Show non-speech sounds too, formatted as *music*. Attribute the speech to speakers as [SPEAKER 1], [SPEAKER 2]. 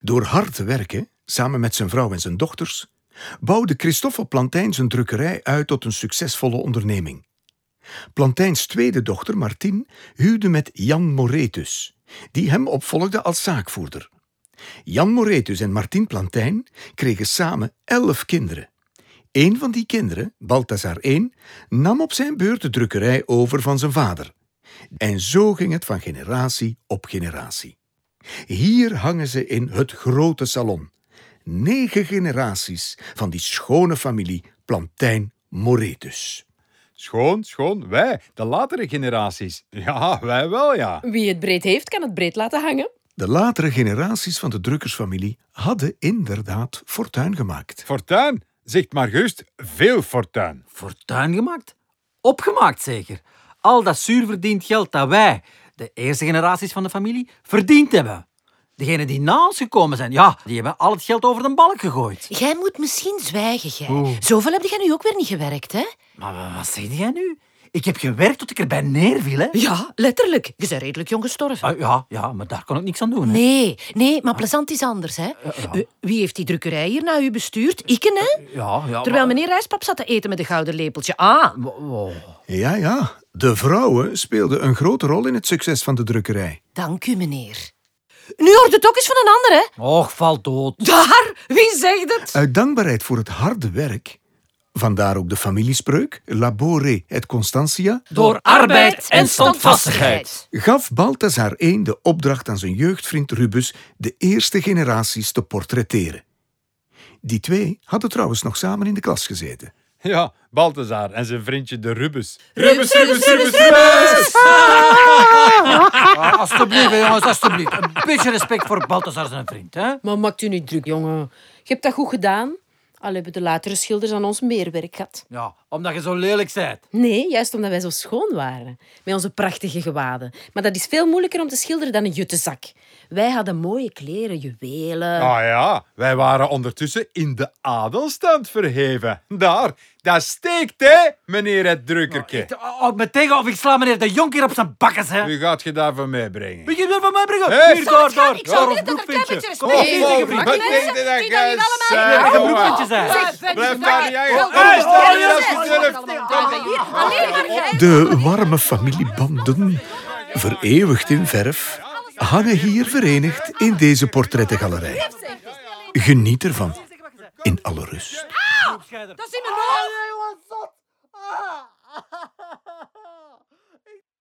[SPEAKER 1] Door hard te werken, samen met zijn vrouw en zijn dochters, bouwde Christoffel Plantijn zijn drukkerij uit tot een succesvolle onderneming. Plantijns tweede dochter, Martien, huwde met Jan Moretus, die hem opvolgde als zaakvoerder. Jan Moretus en Martien Plantijn kregen samen elf kinderen. Een van die kinderen, Balthazar I, nam op zijn beurt de drukkerij over van zijn vader. En zo ging het van generatie op generatie. Hier hangen ze in het grote salon. Negen generaties van die schone familie Plantijn Moretus.
[SPEAKER 2] Schoon, schoon, wij, de latere generaties. Ja, wij wel, ja.
[SPEAKER 3] Wie het breed heeft, kan het breed laten hangen.
[SPEAKER 1] De latere generaties van de drukkersfamilie hadden inderdaad fortuin gemaakt.
[SPEAKER 2] Fortuin, zegt maar gerust, veel fortuin.
[SPEAKER 4] Fortuin gemaakt? Opgemaakt zeker. Al dat zuurverdiend geld dat wij, de eerste generaties van de familie, verdiend hebben. Degenen die na ons gekomen zijn, ja, die hebben al het geld over de balk gegooid.
[SPEAKER 5] Jij moet misschien zwijgen, jij. Zoveel heb jij nu ook weer niet gewerkt, hè?
[SPEAKER 4] Maar wa- wat zeg jij nu? Ik heb gewerkt tot ik erbij neerviel, hè?
[SPEAKER 5] Ja, letterlijk. Je bent redelijk jong gestorven.
[SPEAKER 4] Ah, ja, ja, maar daar kon ik niks aan doen. Hè?
[SPEAKER 5] Nee, nee, maar plezant is anders, hè?
[SPEAKER 4] ja.
[SPEAKER 5] Eh, Wie heeft die drukkerij hier naar u bestuurd? Ikken, hè?
[SPEAKER 4] Ja, ja.
[SPEAKER 5] Terwijl
[SPEAKER 4] maar-
[SPEAKER 5] meneer Rijspap zat te eten met een gouden lepeltje. Ah,
[SPEAKER 4] Wo- wo-
[SPEAKER 1] Ja, ja, de vrouwen speelden een grote rol in het succes van de drukkerij.
[SPEAKER 5] dank u, meneer. Nu hoort het ook eens van een ander, hè?
[SPEAKER 4] Och, val dood.
[SPEAKER 5] Daar, wie zegt
[SPEAKER 4] Eh,
[SPEAKER 5] het?
[SPEAKER 1] Uit dankbaarheid voor het harde werk, vandaar ook de familiespreuk Labore et Constantia,
[SPEAKER 4] Door arbeid en standvastigheid.
[SPEAKER 1] gaf Balthazar I de opdracht aan zijn jeugdvriend Rubus de eerste generaties te portretteren. Die twee hadden trouwens nog samen in de klas gezeten.
[SPEAKER 2] Ja, Balthazar en zijn vriendje de Rubus.
[SPEAKER 4] Rubus, Rubus, Rubus, Rubus! Ah, alsjeblieft, hè, jongens, alsjeblieft. Een beetje respect voor Balthazar zijn vriend, hè?
[SPEAKER 3] Maar maakt u niet druk, jongen. Je hebt dat goed gedaan. Al hebben de latere schilders aan ons meer werk gehad.
[SPEAKER 4] Ja, omdat je zo lelijk bent.
[SPEAKER 3] Nee, juist omdat wij zo schoon waren. Met onze prachtige gewaden. Maar dat is veel moeilijker om te schilderen dan een juttenzak. Wij hadden mooie kleren, juwelen.
[SPEAKER 2] Ah ja, wij waren ondertussen in de adelstand verheven. Daar, daar steekt hè, meneer het drukkerke.
[SPEAKER 4] Houd me tegen of ik sla meneer de jonker op zijn bakkes, hè?
[SPEAKER 2] Wie gaat je daarvan meebrengen?
[SPEAKER 4] Begin weer van mij brengen.
[SPEAKER 2] Hey,
[SPEAKER 4] Hier, door, door.
[SPEAKER 5] Ik zou
[SPEAKER 4] door,
[SPEAKER 5] willen dat er een klein beetje
[SPEAKER 4] Kom
[SPEAKER 5] respect
[SPEAKER 4] op,
[SPEAKER 2] Oh,
[SPEAKER 5] is.
[SPEAKER 4] hier, tegen vriend.
[SPEAKER 2] wat
[SPEAKER 5] mensen
[SPEAKER 2] denk je dat
[SPEAKER 5] die dat
[SPEAKER 2] jij
[SPEAKER 5] niet allemaal
[SPEAKER 2] zei,
[SPEAKER 4] Dat je een
[SPEAKER 2] jongen?
[SPEAKER 4] broekventje zijn.
[SPEAKER 2] Blijf daar niet hangen.
[SPEAKER 5] Wel,
[SPEAKER 2] Hey,
[SPEAKER 4] kom,
[SPEAKER 2] sta
[SPEAKER 4] kom,
[SPEAKER 2] hier
[SPEAKER 4] kom,
[SPEAKER 2] als je
[SPEAKER 4] kom,
[SPEAKER 2] zelf-
[SPEAKER 5] Alleen maar jij.
[SPEAKER 1] De warme familiebanden, vereeuwigd in verf, hangen hier verenigd in deze portrettengalerij. Geniet ervan, in alle rust.
[SPEAKER 5] Ah,
[SPEAKER 4] Opscheider.
[SPEAKER 5] Dat is in mijn hoofd.
[SPEAKER 4] Ah, nee, jongens, zot. Ah.
[SPEAKER 5] *laughs*